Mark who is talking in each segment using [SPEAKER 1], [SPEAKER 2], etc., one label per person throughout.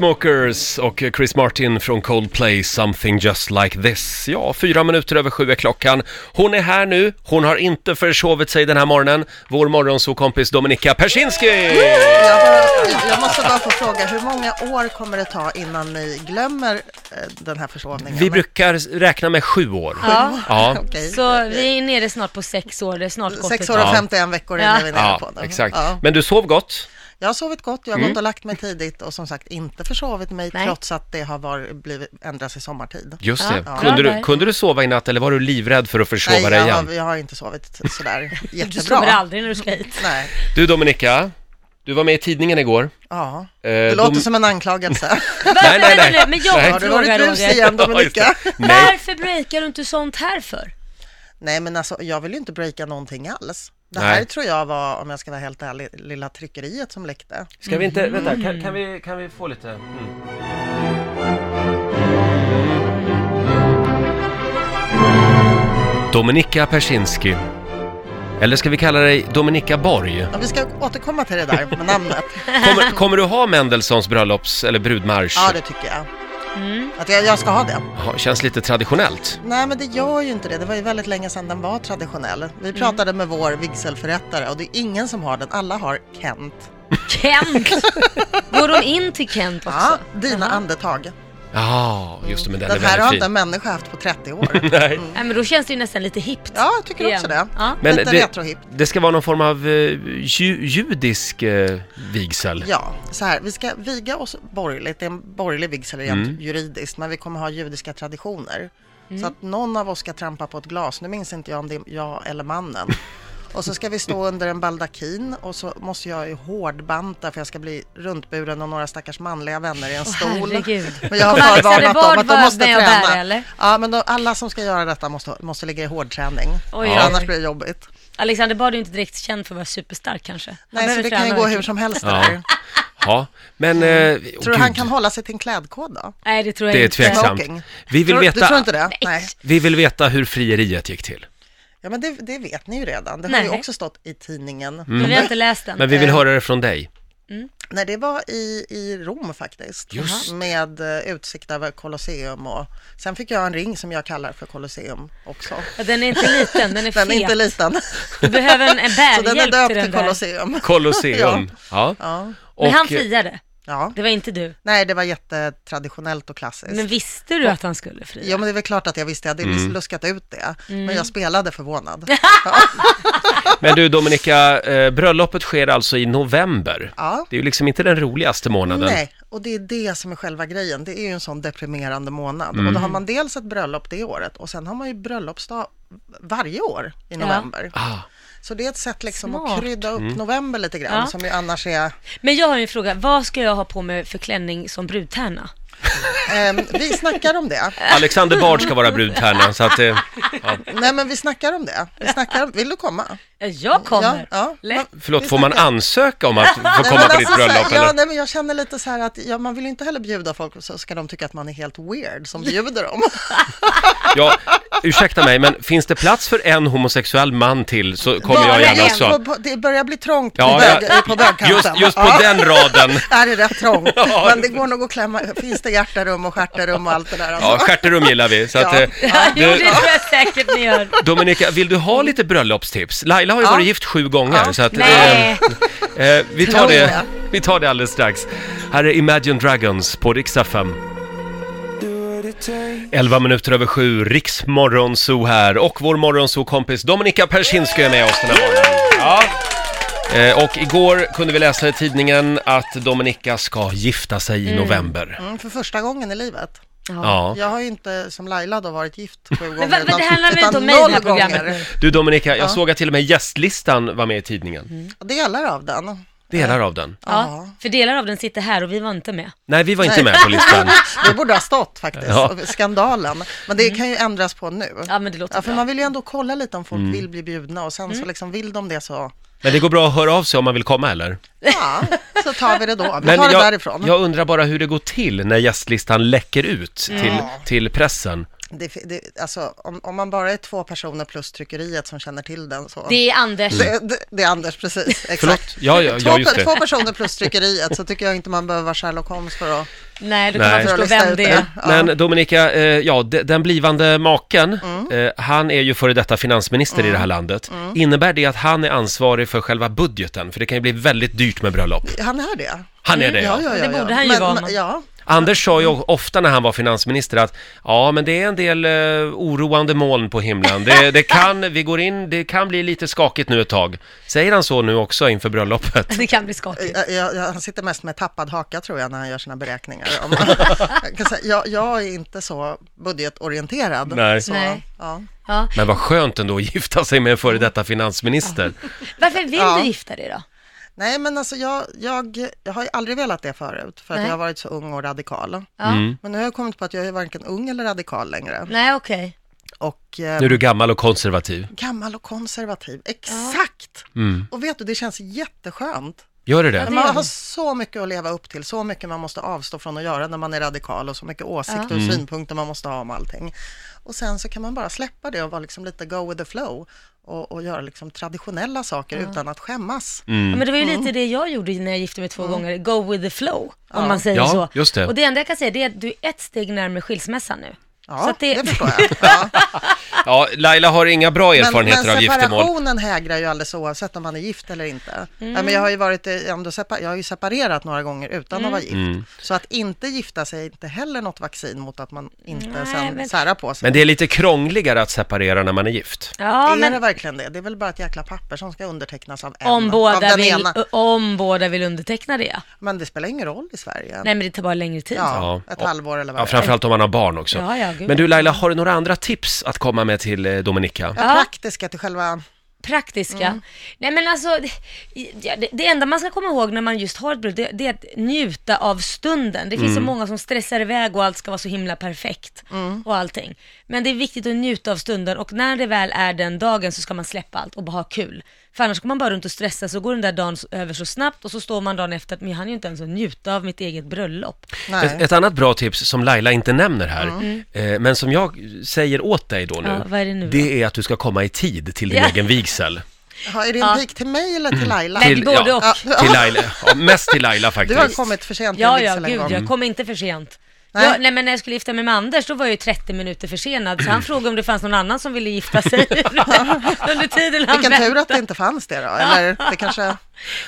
[SPEAKER 1] Chainsmokers och Chris Martin från Coldplay, Something Just Like This. Ja, fyra minuter över sju är klockan. Hon är här nu, hon har inte försovit sig den här morgonen. Vår morgonsokompis Dominika Persinski!
[SPEAKER 2] Jag, bara, jag måste bara få fråga, hur många år kommer det ta innan ni glömmer eh, den här försovningen?
[SPEAKER 1] Vi brukar räkna med sju år.
[SPEAKER 3] Ja.
[SPEAKER 1] Ja.
[SPEAKER 2] Okej.
[SPEAKER 3] Så vi är nere snart på sex år, det är snart gått
[SPEAKER 2] Sex
[SPEAKER 3] ett
[SPEAKER 2] år och
[SPEAKER 3] tag.
[SPEAKER 1] Ja.
[SPEAKER 2] 51 veckor är
[SPEAKER 3] Ja.
[SPEAKER 2] när vi är nere på
[SPEAKER 1] Ja,
[SPEAKER 2] den.
[SPEAKER 1] exakt.
[SPEAKER 2] Ja.
[SPEAKER 1] Men Mm. du sov gott?
[SPEAKER 2] Jag har sovit gott, jag har gått och lagt mig tidigt och som sagt inte försovit mig
[SPEAKER 3] Nej.
[SPEAKER 2] trots att det har varit, blivit, ändrats i sommartid.
[SPEAKER 1] Just
[SPEAKER 3] Ja.
[SPEAKER 1] det.
[SPEAKER 3] Ja.
[SPEAKER 1] Kunde,
[SPEAKER 3] Bra
[SPEAKER 1] du,
[SPEAKER 3] där.
[SPEAKER 1] kunde du sova i natt eller var du livrädd för att försova
[SPEAKER 2] Nej,
[SPEAKER 1] dig
[SPEAKER 2] jag,
[SPEAKER 1] igen?
[SPEAKER 2] har, jag har inte sovit sådär
[SPEAKER 3] Du sover
[SPEAKER 2] jättebra.
[SPEAKER 3] aldrig när du ska hit.
[SPEAKER 2] Nej,
[SPEAKER 1] Du Dominika, du var med i tidningen igår.
[SPEAKER 2] ja.
[SPEAKER 1] Eh,
[SPEAKER 2] Det
[SPEAKER 1] de-
[SPEAKER 2] låter som en anklagelse.
[SPEAKER 3] Varför,
[SPEAKER 1] nej,
[SPEAKER 3] nej,
[SPEAKER 1] nej.
[SPEAKER 3] nej, nej. Men jag
[SPEAKER 1] Nej.
[SPEAKER 3] har
[SPEAKER 2] Har
[SPEAKER 3] en
[SPEAKER 2] du varit
[SPEAKER 3] fråga
[SPEAKER 2] rus
[SPEAKER 3] Roger.
[SPEAKER 2] igen Dominika?
[SPEAKER 1] Just det. Nej,
[SPEAKER 3] Varför breakar du inte sånt här för?
[SPEAKER 2] Nej, men alltså, jag vill ju inte breaka någonting alls. Det
[SPEAKER 1] Nej.
[SPEAKER 2] här tror jag var, om jag ska vara helt ärlig, lilla tryckeriet som läckte.
[SPEAKER 1] ska vi inte,
[SPEAKER 2] Mhm.
[SPEAKER 1] vänta, kan, kan, vi, kan vi få lite? Mm. Dominika Persinski. Eller ska vi kalla dig Dominika Borg?
[SPEAKER 2] Ja, vi ska återkomma till det där med namnet.
[SPEAKER 1] Kommer, kommer du ha Mendelssohns bröllops eller brudmarsch?
[SPEAKER 2] Ja, det tycker jag.
[SPEAKER 3] Mm.
[SPEAKER 2] Att jag, jag ska ha det.
[SPEAKER 1] Ja, Känns lite traditionellt.
[SPEAKER 2] Nej, men det gör ju inte det. Det var ju väldigt länge sedan den var traditionell.
[SPEAKER 3] Mm.
[SPEAKER 2] Vi pratade med vår vigselförrättare och det är ingen som har den. Alla har Kent.
[SPEAKER 3] Kent! Går de in till Kent också?
[SPEAKER 2] Ja, dina andetag.
[SPEAKER 1] Ja, just det, men den,
[SPEAKER 2] Den
[SPEAKER 1] är
[SPEAKER 2] här
[SPEAKER 1] väldigt
[SPEAKER 2] har Mm. inte en
[SPEAKER 1] fin.
[SPEAKER 2] människa haft på 30 år.
[SPEAKER 1] Nej.
[SPEAKER 3] Nej, men då känns det ju nästan lite hippt.
[SPEAKER 2] Ja, jag tycker också
[SPEAKER 3] igen.
[SPEAKER 2] det.
[SPEAKER 3] Ja.
[SPEAKER 1] Men
[SPEAKER 2] Lite
[SPEAKER 1] det,
[SPEAKER 2] retrohip.
[SPEAKER 1] det ska vara någon form av eh, ju, judisk eh, vigsel.
[SPEAKER 2] Ja, så här, vi ska viga oss borgerligt. Det är en borgerlig vigsel rent
[SPEAKER 1] Mm.
[SPEAKER 2] juridiskt, men vi kommer ha judiska traditioner.
[SPEAKER 3] Mm.
[SPEAKER 2] Så att någon av oss ska trampa på ett glas, nu minns inte jag om det är jag eller mannen. Och så ska vi stå under en baldakin och så måste jag ju hårdbanta för jag ska bli runtburen av några stackars manliga vänner i en
[SPEAKER 3] Åh,
[SPEAKER 2] stol.
[SPEAKER 3] herregud.
[SPEAKER 2] Men jag har
[SPEAKER 3] Kommer Alexander
[SPEAKER 2] förvarnat dem
[SPEAKER 3] Bard
[SPEAKER 2] att de
[SPEAKER 3] vara
[SPEAKER 2] måste
[SPEAKER 3] med och
[SPEAKER 2] träna.
[SPEAKER 3] bära, eller?
[SPEAKER 2] Ja, men de, alla som ska göra detta måste, måste ligga i hårdträning.
[SPEAKER 3] Oj,
[SPEAKER 2] För
[SPEAKER 3] oj,
[SPEAKER 2] annars
[SPEAKER 3] oj.
[SPEAKER 2] blir det jobbigt.
[SPEAKER 3] Alexander Bard är ju inte direkt känd för att vara superstark kanske. Han
[SPEAKER 2] Nej, så
[SPEAKER 3] behöver
[SPEAKER 2] det kan ju
[SPEAKER 3] träna
[SPEAKER 2] gå hur
[SPEAKER 3] verkligen.
[SPEAKER 2] som helst det
[SPEAKER 1] Ja.
[SPEAKER 2] där.
[SPEAKER 1] Ja, men... Eh, åh,
[SPEAKER 2] Tror du han
[SPEAKER 1] gud,
[SPEAKER 2] kan hålla sig till en klädkod då?
[SPEAKER 3] Nej, det tror jag
[SPEAKER 1] Det är
[SPEAKER 3] inte.
[SPEAKER 1] tveksamt.
[SPEAKER 2] Smoking.
[SPEAKER 1] Vi vill
[SPEAKER 2] tror, Du
[SPEAKER 1] veta-
[SPEAKER 2] tror inte det? Nej.
[SPEAKER 1] Vi vill veta hur frieriet gick till.
[SPEAKER 2] Ja, men det, det vet ni ju redan. Det har
[SPEAKER 3] Nej. Mm.
[SPEAKER 2] ju också stått i tidningen.
[SPEAKER 3] Men vi har
[SPEAKER 2] Mm.
[SPEAKER 3] inte läst den.
[SPEAKER 1] Men vi vill
[SPEAKER 2] Eh.
[SPEAKER 1] höra det från dig.
[SPEAKER 2] Nej, det var i, i Rom faktiskt.
[SPEAKER 1] Just.
[SPEAKER 2] Med eh, utsikt över Colosseum och sen fick jag en ring som jag kallar för Colosseum också.
[SPEAKER 3] Ja, Den är inte liten, den är fet.
[SPEAKER 2] Den är inte liten,
[SPEAKER 3] Du behöver en, en
[SPEAKER 2] så den är
[SPEAKER 3] bärhjälp till
[SPEAKER 2] döpt
[SPEAKER 3] den
[SPEAKER 2] till
[SPEAKER 3] där.
[SPEAKER 2] Colosseum.
[SPEAKER 1] Colosseum. ja.
[SPEAKER 2] Ja.
[SPEAKER 1] Och,
[SPEAKER 3] Men han
[SPEAKER 1] eh,
[SPEAKER 3] friade.
[SPEAKER 2] ja,
[SPEAKER 3] Det var inte du.
[SPEAKER 2] nej, det var jättetraditionellt och klassiskt.
[SPEAKER 3] Men visste du att han skulle fria?
[SPEAKER 2] Ja, men det är väl klart att jag visste, jag hade luskat ut det. Men jag spelade förvånad.
[SPEAKER 1] Men du Dominika, eh, bröllopet sker alltså i november.
[SPEAKER 2] Ja.
[SPEAKER 1] Det är ju liksom inte den roligaste månaden.
[SPEAKER 2] Nej, och det är det som är själva grejen. Det är ju en sån deprimerande månad. Och då
[SPEAKER 1] Mm.
[SPEAKER 2] har man dels ett bröllop det året och sen har man ju bröllopsdag varje år i november.
[SPEAKER 1] Ah, Mm.
[SPEAKER 2] Så det är ett sätt liksom att
[SPEAKER 3] Smart.
[SPEAKER 2] krydda upp november lite grann,
[SPEAKER 3] Ja.
[SPEAKER 2] som ju annars är...
[SPEAKER 3] Men jag har en fråga. Vad ska jag ha på mig för klänning som brudtärna?
[SPEAKER 2] Ehm, vi snackar om det.
[SPEAKER 1] Alexander Bard ska vara brudtärna, så att eh, ja.
[SPEAKER 2] Nej, men vi snackar om det. Vi snackar om... Vill du komma?
[SPEAKER 3] Ja, Jag kommer.
[SPEAKER 2] Ja, ja.
[SPEAKER 3] Lätt.
[SPEAKER 1] Förlåt, får man ansöka om att få
[SPEAKER 2] Nej,
[SPEAKER 1] komma
[SPEAKER 2] men
[SPEAKER 1] på ditt
[SPEAKER 2] alltså så här,
[SPEAKER 1] bröllop
[SPEAKER 2] ja,
[SPEAKER 1] eller?
[SPEAKER 2] nej, men jag känner lite så här att ja, man vill ju inte heller bjuda folk och så ska de tycka att man är helt weird som bjuder dem.
[SPEAKER 1] Ja, ursäkta mig, men finns det plats för en homosexuell man till så kommer jag
[SPEAKER 2] Bara
[SPEAKER 1] gärna
[SPEAKER 2] en
[SPEAKER 1] också.
[SPEAKER 2] på- på- Det börjar bli trångt på,
[SPEAKER 1] Ja,
[SPEAKER 2] bög,
[SPEAKER 1] ja.
[SPEAKER 2] på bögkanten.
[SPEAKER 1] Just, just på
[SPEAKER 2] Ja.
[SPEAKER 1] den raden.
[SPEAKER 2] Här är rätt trångt,
[SPEAKER 1] Ja.
[SPEAKER 2] men det går nog att klämma. Finns det hjärtarum och stjärtarum och allt det där?
[SPEAKER 1] Ja,
[SPEAKER 2] Alltså.
[SPEAKER 1] stjärterum gillar vi. Så att,
[SPEAKER 2] Ja.
[SPEAKER 1] eh,
[SPEAKER 3] Jo, det
[SPEAKER 1] du,
[SPEAKER 3] tror jag säkert ni gör.
[SPEAKER 1] Dominika, vill du ha lite bröllopstips? Laila har ju
[SPEAKER 2] Ja.
[SPEAKER 1] varit gift sju gånger, så att,
[SPEAKER 3] Nej.
[SPEAKER 1] eh, eh, vi, tar
[SPEAKER 2] Tror
[SPEAKER 1] det,
[SPEAKER 2] jag.
[SPEAKER 1] vi tar det alldeles strax. Här är Imagine Dragons på riksdag 5. 11 minuter över sju, Riksmorgon Zoo här och vår morgonzoo-kompis Dominika Persinski är med oss den här morgonen. Ja. Eh, Och igår kunde vi läsa i tidningen att Dominika ska gifta sig i november.
[SPEAKER 2] Mm, för första gången i livet.
[SPEAKER 1] Ja.
[SPEAKER 2] Jag har ju inte som Laila då varit gift sju gånger.
[SPEAKER 3] Men, va- men
[SPEAKER 2] utan-
[SPEAKER 3] det handlar väl
[SPEAKER 2] utan
[SPEAKER 3] inte om mig i det här
[SPEAKER 2] noll gånger.
[SPEAKER 3] programmet nu?
[SPEAKER 1] Du Dominika, jag såg att till och med gästlistan var med i tidningen.
[SPEAKER 2] Mm. Delar av den.
[SPEAKER 1] Delar av den.
[SPEAKER 3] Ja, för delar av den sitter här och vi var inte med.
[SPEAKER 1] Nej, vi var inte med på listan.
[SPEAKER 2] Det borde ha stått faktiskt,
[SPEAKER 1] Ja.
[SPEAKER 2] skandalen. Men det kan ju ändras på nu.
[SPEAKER 3] Mm. Ja, men det låter
[SPEAKER 2] Ja, för
[SPEAKER 3] bra. Mm.
[SPEAKER 2] man vill ju ändå kolla lite om folk
[SPEAKER 1] Mm.
[SPEAKER 2] vill bli bjudna och sen så liksom vill de det så,
[SPEAKER 1] Men det går bra att höra av sig om man vill komma eller?
[SPEAKER 2] ja, så tar vi det då. Vi
[SPEAKER 1] Men
[SPEAKER 2] tar det
[SPEAKER 1] jag,
[SPEAKER 2] därifrån. Mm.
[SPEAKER 1] jag undrar bara hur det går till när gästlistan läcker ut till, till pressen.
[SPEAKER 2] Det, det, alltså, om, om man bara är två personer plus tryckeriet som känner till den så...
[SPEAKER 3] Det är Anders.
[SPEAKER 2] Det, det- det är Anders, precis. Exakt.
[SPEAKER 1] Mm. Förlåt? Ja, ja,
[SPEAKER 2] Två,
[SPEAKER 1] ja, just
[SPEAKER 2] två
[SPEAKER 1] det.
[SPEAKER 2] personer plus tryckeriet så tycker jag inte man behöver vara Sherlock Holmes för att,
[SPEAKER 3] Nej, då kan
[SPEAKER 1] Nej.
[SPEAKER 3] man
[SPEAKER 2] för att
[SPEAKER 3] förstå
[SPEAKER 2] lista
[SPEAKER 3] vem
[SPEAKER 2] ut
[SPEAKER 3] det är.
[SPEAKER 2] det. Ja. Mm.
[SPEAKER 1] Men Dominika, eh, ja, de- den blivande maken, eh, han är ju före detta finansminister i det här landet. Innebär det att han är ansvarig för själva budgeten? För det kan ju bli väldigt dyrt med bröllop.
[SPEAKER 2] Han är det.
[SPEAKER 1] Han är det, ja.
[SPEAKER 2] Ja, ja, ja,
[SPEAKER 3] Det
[SPEAKER 2] ja.
[SPEAKER 3] borde han ju vara,
[SPEAKER 2] Men,
[SPEAKER 3] man.
[SPEAKER 2] ja,
[SPEAKER 1] Anders sa ju
[SPEAKER 2] Mm.
[SPEAKER 1] ofta när han var finansminister att ja, men det är en del eh, oroande moln på himlen. Det, det kan, vi går in, det kan bli lite skakigt nu ett tag. Säger han så nu också inför bröllopet?
[SPEAKER 3] Det kan bli skakigt.
[SPEAKER 2] Ja, ja, ja, han sitter mest med tappad haka tror jag när han gör sina beräkningar. Om man- jag, kan säga, jag, jag är inte så budgetorienterad.
[SPEAKER 1] Nej.
[SPEAKER 2] Så,
[SPEAKER 3] Nej.
[SPEAKER 2] Ja.
[SPEAKER 3] Ja.
[SPEAKER 1] Men vad skönt ändå att gifta sig med en före detta finansminister.
[SPEAKER 3] Varför vill
[SPEAKER 2] Ja.
[SPEAKER 3] du gifta dig då?
[SPEAKER 2] Nej, men alltså jag, jag, jag har ju aldrig velat det förut, för att
[SPEAKER 3] Nej.
[SPEAKER 2] jag har varit så ung och radikal.
[SPEAKER 3] Ja.
[SPEAKER 2] Men nu har jag kommit på att jag är varken ung eller radikal längre.
[SPEAKER 3] Nej, okej.
[SPEAKER 2] Och eh,
[SPEAKER 1] Nu är du gammal och konservativ.
[SPEAKER 2] gammal och konservativ, exakt! Och vet du, det känns jätteskönt.
[SPEAKER 1] Gör det
[SPEAKER 3] Ja,
[SPEAKER 1] det?
[SPEAKER 3] det- gör
[SPEAKER 2] Man har
[SPEAKER 3] det.
[SPEAKER 2] så mycket att leva upp till, så mycket man måste avstå från att göra när man är radikal och så mycket åsikter och synpunkter man måste ha om allting. Och sen så kan man bara släppa det och vara liksom lite go with the flow och, och göra liksom traditionella saker utan att skämmas.
[SPEAKER 1] Mm.
[SPEAKER 3] Ja, men det var ju lite det jag gjorde när jag gifte mig två
[SPEAKER 2] Mm.
[SPEAKER 3] gånger, go with the flow, om man säger
[SPEAKER 1] Ja,
[SPEAKER 3] så.
[SPEAKER 1] just det.
[SPEAKER 3] Och det enda jag kan säga det är att du är ett steg närmare skilsmässan nu. så
[SPEAKER 2] Ja,
[SPEAKER 3] att
[SPEAKER 2] det...
[SPEAKER 3] det,
[SPEAKER 2] förstår jag. Ja.
[SPEAKER 1] Ja, Laila har inga bra
[SPEAKER 2] Men, men
[SPEAKER 1] erfarenheter av
[SPEAKER 3] Oh.
[SPEAKER 1] giftermål.
[SPEAKER 2] separationen hägrar ju alldeles oavsett om man är gift eller inte. Nej, men jag, har ju varit, eh, ändå separ- jag har ju separerat några gånger utan att
[SPEAKER 1] Mm.
[SPEAKER 2] vara gift. Så att inte gifta sig är inte heller något vaccin mot att man inte
[SPEAKER 3] Nej,
[SPEAKER 2] sen
[SPEAKER 3] men-
[SPEAKER 2] särar på sig.
[SPEAKER 1] Men det är lite krångligare att separera när man är gift.
[SPEAKER 3] ja,
[SPEAKER 2] är det
[SPEAKER 3] men
[SPEAKER 2] verkligen det? Det är väl bara ett jäkla papper som ska undertecknas av en.
[SPEAKER 3] om
[SPEAKER 2] av
[SPEAKER 3] båda,
[SPEAKER 2] den
[SPEAKER 3] vill,
[SPEAKER 2] ena.
[SPEAKER 3] om båda vill underteckna det. ja.
[SPEAKER 2] Men det spelar ingen roll i Sverige.
[SPEAKER 3] Nej, men det tar bara längre tid.
[SPEAKER 2] Ja,
[SPEAKER 1] Ja.
[SPEAKER 2] ett halvår eller vad
[SPEAKER 1] Ja,
[SPEAKER 2] det är.
[SPEAKER 1] framförallt om man har barn också.
[SPEAKER 3] Ja, ja, gud.
[SPEAKER 1] Men du Laila, har du några andra tips att komma med till eh, Dominika?
[SPEAKER 2] Ja, Praktiska till själva...
[SPEAKER 3] Praktiska. Nej men alltså, det- ja, det, det enda man ska komma ihåg när man just har ett bröllop, det, det är att njuta av stunden. Det finns så många som stressar iväg och allt ska vara så himla perfekt och allting. Men det är viktigt att njuta av stunden och när det väl är den dagen så ska man släppa allt och bara ha kul. För annars kommer man bara runt och stressa så går den där dagen så- över så snabbt och så står man dagen efter att men jag hann ju inte ens att njuta av mitt eget bröllop.
[SPEAKER 2] Nej.
[SPEAKER 1] Ett, ett annat bra tips som Laila inte nämner här, eh, men som jag säger åt dig då nu,
[SPEAKER 3] Mm. Ja, vad är det nu då?
[SPEAKER 1] är att du ska komma i tid till din
[SPEAKER 3] Ja.
[SPEAKER 1] egen vigsel.
[SPEAKER 2] Ja, är det en pik till mig eller
[SPEAKER 1] Mm.
[SPEAKER 2] till Laila?
[SPEAKER 3] Nej, både
[SPEAKER 1] ja,
[SPEAKER 3] och.
[SPEAKER 1] Till Laila, ja, mest till Laila
[SPEAKER 2] Du har
[SPEAKER 1] faktiskt.
[SPEAKER 2] kommit för sent till
[SPEAKER 3] Ja, ja,
[SPEAKER 2] vigsel en
[SPEAKER 3] gud,
[SPEAKER 2] gång.
[SPEAKER 3] jag kom inte för sent.
[SPEAKER 2] Nej.
[SPEAKER 3] Nej. Jag, nej men när jag skulle gifta mig med Anders då var jag ju 30 minuter försenad så han frågade om det fanns någon annan som ville gifta sig under tiden han
[SPEAKER 2] Vilken
[SPEAKER 3] väntade.
[SPEAKER 2] tur att det inte fanns det då. Eller det kanske...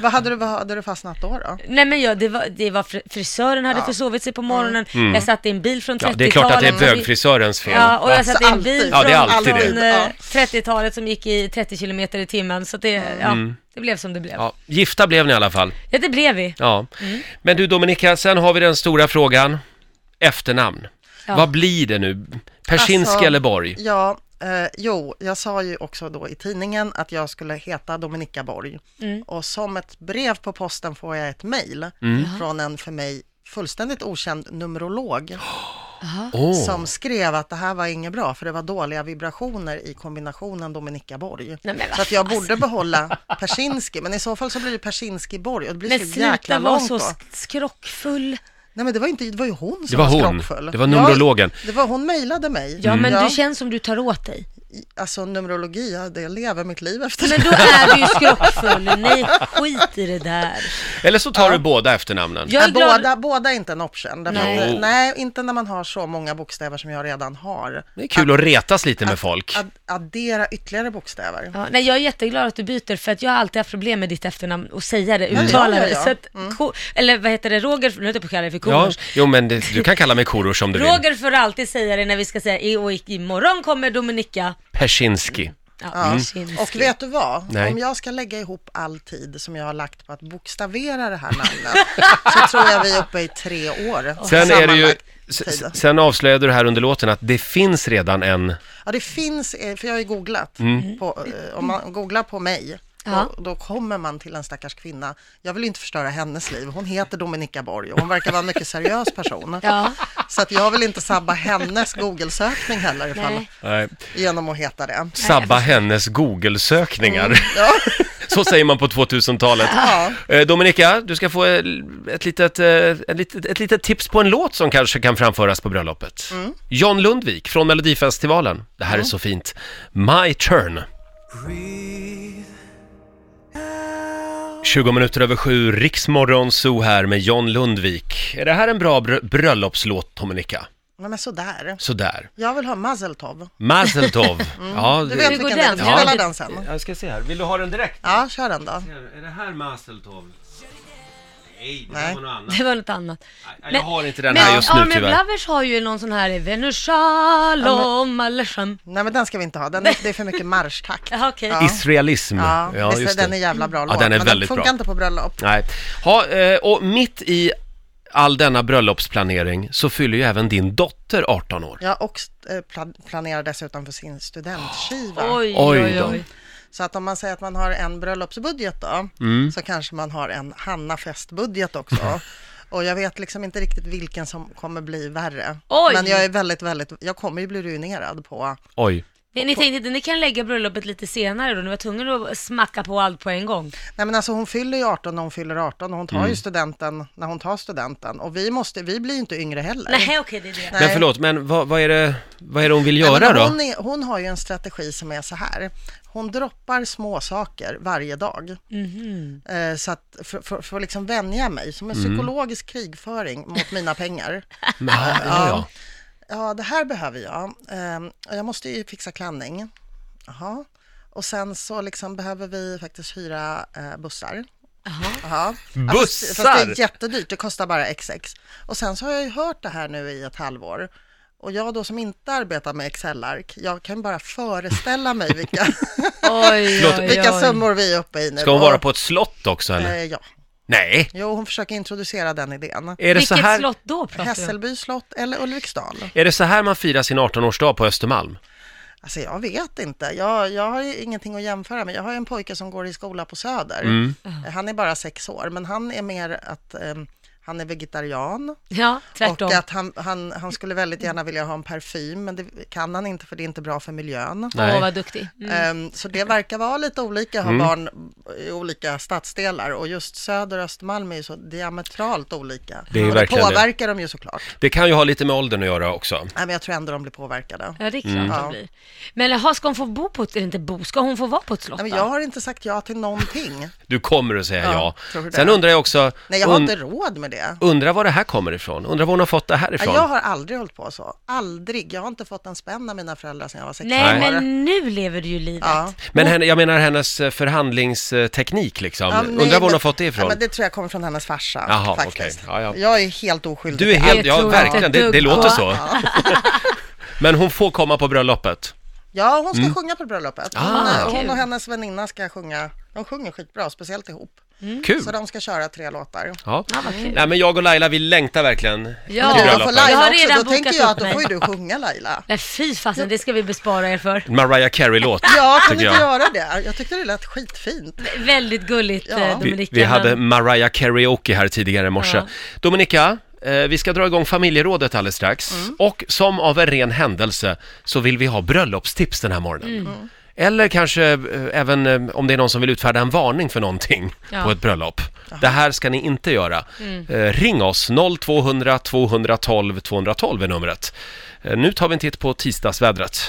[SPEAKER 2] Vad hade du, vad hade du fastnat då? då?
[SPEAKER 3] Nej men jag, det var, det var fri- frisören hade försovit sig på morgonen,
[SPEAKER 2] Mm.
[SPEAKER 3] jag satt i en bil från 30-talet.
[SPEAKER 1] Ja, det är klart att det är
[SPEAKER 3] som vi-
[SPEAKER 1] bögfrisörens fel.
[SPEAKER 3] Ja, och jag
[SPEAKER 2] Så
[SPEAKER 3] satt i en
[SPEAKER 2] Alltså, alltid.
[SPEAKER 3] bil
[SPEAKER 1] Ja, det är
[SPEAKER 3] från,
[SPEAKER 1] alltid det.
[SPEAKER 3] från eh,
[SPEAKER 2] Ja.
[SPEAKER 3] 30-talet som gick i 30 kilometer i timmen så det, ja, det blev som det blev. Ja,
[SPEAKER 1] Mm. Ja, gifta blev ni i alla fall.
[SPEAKER 3] det blev vi.
[SPEAKER 1] Ja. Men du Dominika, sen har vi den stora frågan. Efternamn.
[SPEAKER 3] Ja.
[SPEAKER 1] Vad blir det nu? Persinski
[SPEAKER 2] Alltså-
[SPEAKER 1] eller Borg?
[SPEAKER 2] Ja, eh, jo, jag sa ju också då i tidningen att jag skulle heta Dominika Borg.
[SPEAKER 3] Mm.
[SPEAKER 2] Och som ett brev på posten får jag ett mejl från en för mig fullständigt okänd numerolog
[SPEAKER 1] Åh,
[SPEAKER 2] som skrev att det här var inget bra för det var dåliga vibrationer i kombinationen Dominika Borg.
[SPEAKER 3] Nej, men vad
[SPEAKER 2] så att jag borde behålla Persinski, men i så fall så blir det Persinski Borg och det blir
[SPEAKER 3] Men
[SPEAKER 2] så jäkla
[SPEAKER 3] sluta vara
[SPEAKER 2] långt
[SPEAKER 3] så
[SPEAKER 2] då.
[SPEAKER 3] sk- skrockfull.
[SPEAKER 2] Nej men det var, inte, det var ju hon som
[SPEAKER 1] Det var hon.
[SPEAKER 2] skrockfull.
[SPEAKER 1] Det var numerologen.
[SPEAKER 2] Ja, det var, hon mejlade mig.
[SPEAKER 3] Ja men du känns som du tar åt dig.
[SPEAKER 2] Alltså numerologi, ja, det jag lever mitt liv efter
[SPEAKER 3] Men
[SPEAKER 2] det.
[SPEAKER 3] då är du ju skrockfull. Nej, skit i det där.
[SPEAKER 1] Eller så tar du båda efternamnen.
[SPEAKER 3] Jag är
[SPEAKER 2] Ja,
[SPEAKER 3] glad.
[SPEAKER 2] båda, båda är inte en option. Därför
[SPEAKER 3] Nej.
[SPEAKER 2] att,
[SPEAKER 1] Jo.
[SPEAKER 2] eh, nej, inte när man har så många bokstäver som jag redan har.
[SPEAKER 1] Det är kul att retas lite med folk.
[SPEAKER 2] Ad, addera ytterligare bokstäver.
[SPEAKER 3] Ja, nej, jag är jätteglad att du byter för att jag har alltid haft problem med ditt efternamn och säga det,
[SPEAKER 2] Mm.
[SPEAKER 3] uttala
[SPEAKER 2] Ja, ja,
[SPEAKER 3] det.
[SPEAKER 2] ja.
[SPEAKER 3] Så att, ko, eller vad heter det, Roger, nu höll jag på att kalla dig för
[SPEAKER 1] Ja,
[SPEAKER 3] Korosh.
[SPEAKER 1] jo men det, du kan kalla mig Korosh om du vill.
[SPEAKER 3] Roger får alltid säga det när vi ska säga i och i- imorgon kommer Dominika.
[SPEAKER 1] Persinski.
[SPEAKER 3] Ja, Kinski.
[SPEAKER 2] Och vet du vad?
[SPEAKER 1] Nej.
[SPEAKER 2] Om jag ska lägga ihop all tid som jag har lagt på att bokstavera det här namnet så tror jag vi är uppe i tre år.
[SPEAKER 1] Sen är det ju...
[SPEAKER 2] sammanlagt
[SPEAKER 1] s-
[SPEAKER 2] tid.
[SPEAKER 1] s- Sen avslöjade du här under låten att det finns redan en...
[SPEAKER 2] Ja, det finns, eh, för jag har ju googlat.
[SPEAKER 1] Mm.
[SPEAKER 2] På, eh, om man googlar på mig,
[SPEAKER 3] Ja.
[SPEAKER 2] då, då kommer man till en stackars kvinna. Jag vill ju inte förstöra hennes liv. Hon heter Dominika Borg och hon verkar vara en mycket seriös person.
[SPEAKER 3] Ja.
[SPEAKER 2] Så att jag vill inte sabba hennes Google-sökning heller ifall,
[SPEAKER 3] Nej.
[SPEAKER 1] Nej.
[SPEAKER 2] genom att heta det.
[SPEAKER 1] Sabba hennes Google-sökningar.
[SPEAKER 2] Ja.
[SPEAKER 1] Så säger man på 2000-talet.
[SPEAKER 2] Ja.
[SPEAKER 1] Eh, Dominika, du ska få eh, ett litet, eh, ett, litet, ett litet tips på en låt som kanske kan framföras på bröllopet.
[SPEAKER 2] Mm.
[SPEAKER 1] John Lundvik från Melodifestivalen. Det här är så fint. My turn. 20 minuter över sju, Riksmorgon Zoo här med John Lundvik. Är det här en bra br- bröllopslåt, Dominika?
[SPEAKER 2] Nej, men sådär.
[SPEAKER 1] Sådär.
[SPEAKER 2] Jag vill ha Mazeltov.
[SPEAKER 1] Mazel tov. Ja,
[SPEAKER 2] Du vet
[SPEAKER 3] Hur går
[SPEAKER 2] vilken Mm. det är,
[SPEAKER 3] den?
[SPEAKER 2] vi kan spela
[SPEAKER 1] Ja.
[SPEAKER 2] den sen.
[SPEAKER 1] Jag ska se här, vill du ha den direkt?
[SPEAKER 2] Ja, kör den då.
[SPEAKER 1] Är det här Mazel tov? Nej,
[SPEAKER 2] Nej. var
[SPEAKER 1] något annat.
[SPEAKER 3] Det var något annat.
[SPEAKER 1] Nej, jag har inte den
[SPEAKER 3] men
[SPEAKER 1] här just nu
[SPEAKER 3] Armin
[SPEAKER 1] tyvärr.
[SPEAKER 3] Blavers har ju någon sån här Venu Shalom Aleichem.
[SPEAKER 2] Nej, men den ska vi inte ha. Den, det är för mycket marschtakt.
[SPEAKER 3] Jaha okej.
[SPEAKER 2] Ja.
[SPEAKER 1] Israelism.
[SPEAKER 2] Ja, visst,
[SPEAKER 1] just
[SPEAKER 2] den
[SPEAKER 1] det.
[SPEAKER 2] är jävla bra
[SPEAKER 1] Ja,
[SPEAKER 2] låt.
[SPEAKER 1] den är
[SPEAKER 2] men
[SPEAKER 1] väldigt
[SPEAKER 2] den funkar
[SPEAKER 1] bra.
[SPEAKER 2] inte på bröllop.
[SPEAKER 1] Nej. Ha, eh, och mitt i all denna bröllopsplanering så fyller ju även din dotter 18 år.
[SPEAKER 2] Ja, och eh, pla- planerar dessutom för sin studentskiva.
[SPEAKER 3] Oj,
[SPEAKER 1] Oj
[SPEAKER 3] oj,
[SPEAKER 1] då.
[SPEAKER 3] oj.
[SPEAKER 2] Så att om man säger att man har en bröllopsbudget då,
[SPEAKER 1] Mm.
[SPEAKER 2] så kanske man har en Hanna-festbudget också. Och jag vet liksom inte riktigt vilken som kommer bli värre.
[SPEAKER 3] Oj!
[SPEAKER 2] Men jag är väldigt, väldigt, jag kommer ju bli ruinerad på,
[SPEAKER 1] Oj.
[SPEAKER 3] Ni, ni tänkte inte, ni kan lägga bröllopet lite senare då, ni var tvungna att smacka på allt på en gång.
[SPEAKER 2] nej men alltså hon fyller ju 18 när hon fyller 18 och hon tar
[SPEAKER 1] Mm.
[SPEAKER 2] ju studenten när hon tar studenten. Och vi måste, vi blir ju inte yngre heller.
[SPEAKER 3] Nej, okej det är det.
[SPEAKER 1] Men förlåt, men vad, vad, är det, vad är det hon vill
[SPEAKER 2] Nej, men
[SPEAKER 1] göra då?
[SPEAKER 2] hon, är, hon har ju en strategi som är så här. Hon droppar små saker varje dag. Eh, så att, för, för, för att liksom vänja mig, som en
[SPEAKER 1] Mm.
[SPEAKER 2] psykologisk krigföring mot mina pengar.
[SPEAKER 1] Men, ja, ja, ja.
[SPEAKER 2] Ja, det här behöver jag. Ehm, och jag måste ju fixa klänning. Jaha. Och sen så liksom behöver vi faktiskt hyra eh, bussar. Jaha. Ja, fast- Fast det
[SPEAKER 1] Bussar?
[SPEAKER 2] är jättedyrt, det kostar bara XX. Och sen så har jag ju hört det här nu i ett halvår. Och jag då som inte arbetar med Excel-ark, jag kan bara föreställa mig vilka,
[SPEAKER 3] Oj, oj, oj.
[SPEAKER 2] vilka summor vi är uppe i nu.
[SPEAKER 1] Ska hon
[SPEAKER 2] Och,
[SPEAKER 1] vara på ett slott också eller?
[SPEAKER 2] eh, Ja,
[SPEAKER 1] Nej!
[SPEAKER 2] jo, hon försöker introducera den idén.
[SPEAKER 1] Är det, så
[SPEAKER 3] Vilket
[SPEAKER 1] här,
[SPEAKER 3] slott då pratar vi om?
[SPEAKER 2] Hässelby slott eller Ulriksdal?
[SPEAKER 1] är det så här man firar sin 18-årsdag på Östermalm?
[SPEAKER 2] Alltså jag vet inte. Jag, jag har ju ingenting att jämföra med. Jag har ju en pojke som går i skola på Söder.
[SPEAKER 1] Mm.
[SPEAKER 2] Eh, Han är bara sex år, men han är mer att ehm, han är vegetarian
[SPEAKER 3] Ja, tvärtom.
[SPEAKER 2] och att han, han, han skulle väldigt gärna vilja ha en parfym, men det kan han inte för det är inte bra för miljön.
[SPEAKER 1] Nej.
[SPEAKER 3] Åh, vad duktig. Mm.
[SPEAKER 2] Ehm, Så det verkar vara lite olika att ha
[SPEAKER 1] Mm.
[SPEAKER 2] barn i olika stadsdelar och just Söder och Östermalm är ju så diametralt olika.
[SPEAKER 1] Det är
[SPEAKER 2] och det
[SPEAKER 1] verkligen det.
[SPEAKER 2] påverkar dem ju såklart.
[SPEAKER 1] Det kan ju ha lite med åldern att göra också.
[SPEAKER 2] Nej, men jag tror ändå de blir påverkade.
[SPEAKER 3] Ja, det är klart
[SPEAKER 2] Mm. Ja.
[SPEAKER 3] de blir. Men jaha, ska hon få bo på ett, eller inte bo, ska hon få vara på ett slott
[SPEAKER 2] Nej,
[SPEAKER 3] då?
[SPEAKER 2] men jag har inte sagt ja till någonting.
[SPEAKER 1] Du kommer att säga ja.
[SPEAKER 2] Ja, tror det.
[SPEAKER 1] Sen undrar jag också,
[SPEAKER 2] Nej, jag har
[SPEAKER 1] un-
[SPEAKER 2] inte råd med det.
[SPEAKER 1] undrar var det här kommer ifrån? Undrar var hon har fått det här
[SPEAKER 2] Ja,
[SPEAKER 1] ifrån?
[SPEAKER 2] jag har aldrig hållit på så. Aldrig. Jag har inte fått en spänn av mina föräldrar sedan jag var 16
[SPEAKER 3] Nej,
[SPEAKER 2] år.
[SPEAKER 3] men nu lever du ju livet.
[SPEAKER 2] Ja.
[SPEAKER 1] Men henne, jag menar hennes eh, förhandlingsteknik liksom.
[SPEAKER 2] Ja,
[SPEAKER 1] Undrar var hon
[SPEAKER 2] men-
[SPEAKER 1] har fått det
[SPEAKER 2] Ja,
[SPEAKER 1] ifrån?
[SPEAKER 2] men det tror jag kommer från hennes farsa
[SPEAKER 1] Jaha,
[SPEAKER 2] faktiskt.
[SPEAKER 1] okej. Ja, ja.
[SPEAKER 2] Jag är helt oskyldig.
[SPEAKER 1] Du är
[SPEAKER 2] till
[SPEAKER 1] helt,
[SPEAKER 3] Det
[SPEAKER 1] ja
[SPEAKER 3] tror jag
[SPEAKER 1] verkligen,
[SPEAKER 3] inte
[SPEAKER 1] det,
[SPEAKER 3] ett
[SPEAKER 1] det
[SPEAKER 3] dugg
[SPEAKER 1] låter
[SPEAKER 3] på.
[SPEAKER 1] så. Men hon får komma på bröllopet.
[SPEAKER 2] allt. Ja, hon ska sjunga på bröllopet. Hon,
[SPEAKER 1] Mm.
[SPEAKER 2] eh,
[SPEAKER 1] Ah.
[SPEAKER 2] hon
[SPEAKER 3] Kul.
[SPEAKER 2] och hennes väninna ska sjunga. De sjunger skitbra, speciellt ihop.
[SPEAKER 1] Kul!
[SPEAKER 2] Mm, Så de ska köra tre låtar.
[SPEAKER 1] Ja.
[SPEAKER 3] Ja, vad kul.
[SPEAKER 1] Nej men jag och Laila, vi längtar verkligen
[SPEAKER 3] Ja.
[SPEAKER 1] till
[SPEAKER 2] Men du, då får
[SPEAKER 1] bröllopet.
[SPEAKER 3] Jag
[SPEAKER 2] Laila
[SPEAKER 3] har
[SPEAKER 2] också,
[SPEAKER 3] redan
[SPEAKER 2] då tänker
[SPEAKER 3] bokat
[SPEAKER 2] jag
[SPEAKER 3] upp
[SPEAKER 2] att då
[SPEAKER 3] mig.
[SPEAKER 2] får ju du sjunga Laila.
[SPEAKER 3] Nej, fy fasen, det ska vi bespara er för.
[SPEAKER 1] Mariah Carey-låt,
[SPEAKER 2] Ja, kan du
[SPEAKER 1] tycker
[SPEAKER 2] inte
[SPEAKER 1] jag.
[SPEAKER 2] göra det? Jag tyckte det lät skitfint.
[SPEAKER 3] Väldigt gulligt,
[SPEAKER 2] Ja.
[SPEAKER 3] eh,
[SPEAKER 1] Vi,
[SPEAKER 3] Dominika.
[SPEAKER 1] vi hade
[SPEAKER 3] men-
[SPEAKER 1] Mariah Karaoke här tidigare i morse.
[SPEAKER 3] Ja.
[SPEAKER 1] Dominika, eh, vi ska dra igång familjerådet alldeles strax.
[SPEAKER 3] Mm.
[SPEAKER 1] Och som av en ren händelse så vill vi ha bröllopstips den här morgonen.
[SPEAKER 3] Mm.
[SPEAKER 1] Eller kanske eh, även eh, om det är någon som vill utfärda en varning för någonting
[SPEAKER 3] Ja. Mm.
[SPEAKER 1] på ett bröllop. Det här ska ni inte göra. Eh, ring oss, 0200 212 212 är numret. Eh, nu tar vi en titt på tisdagsvädret.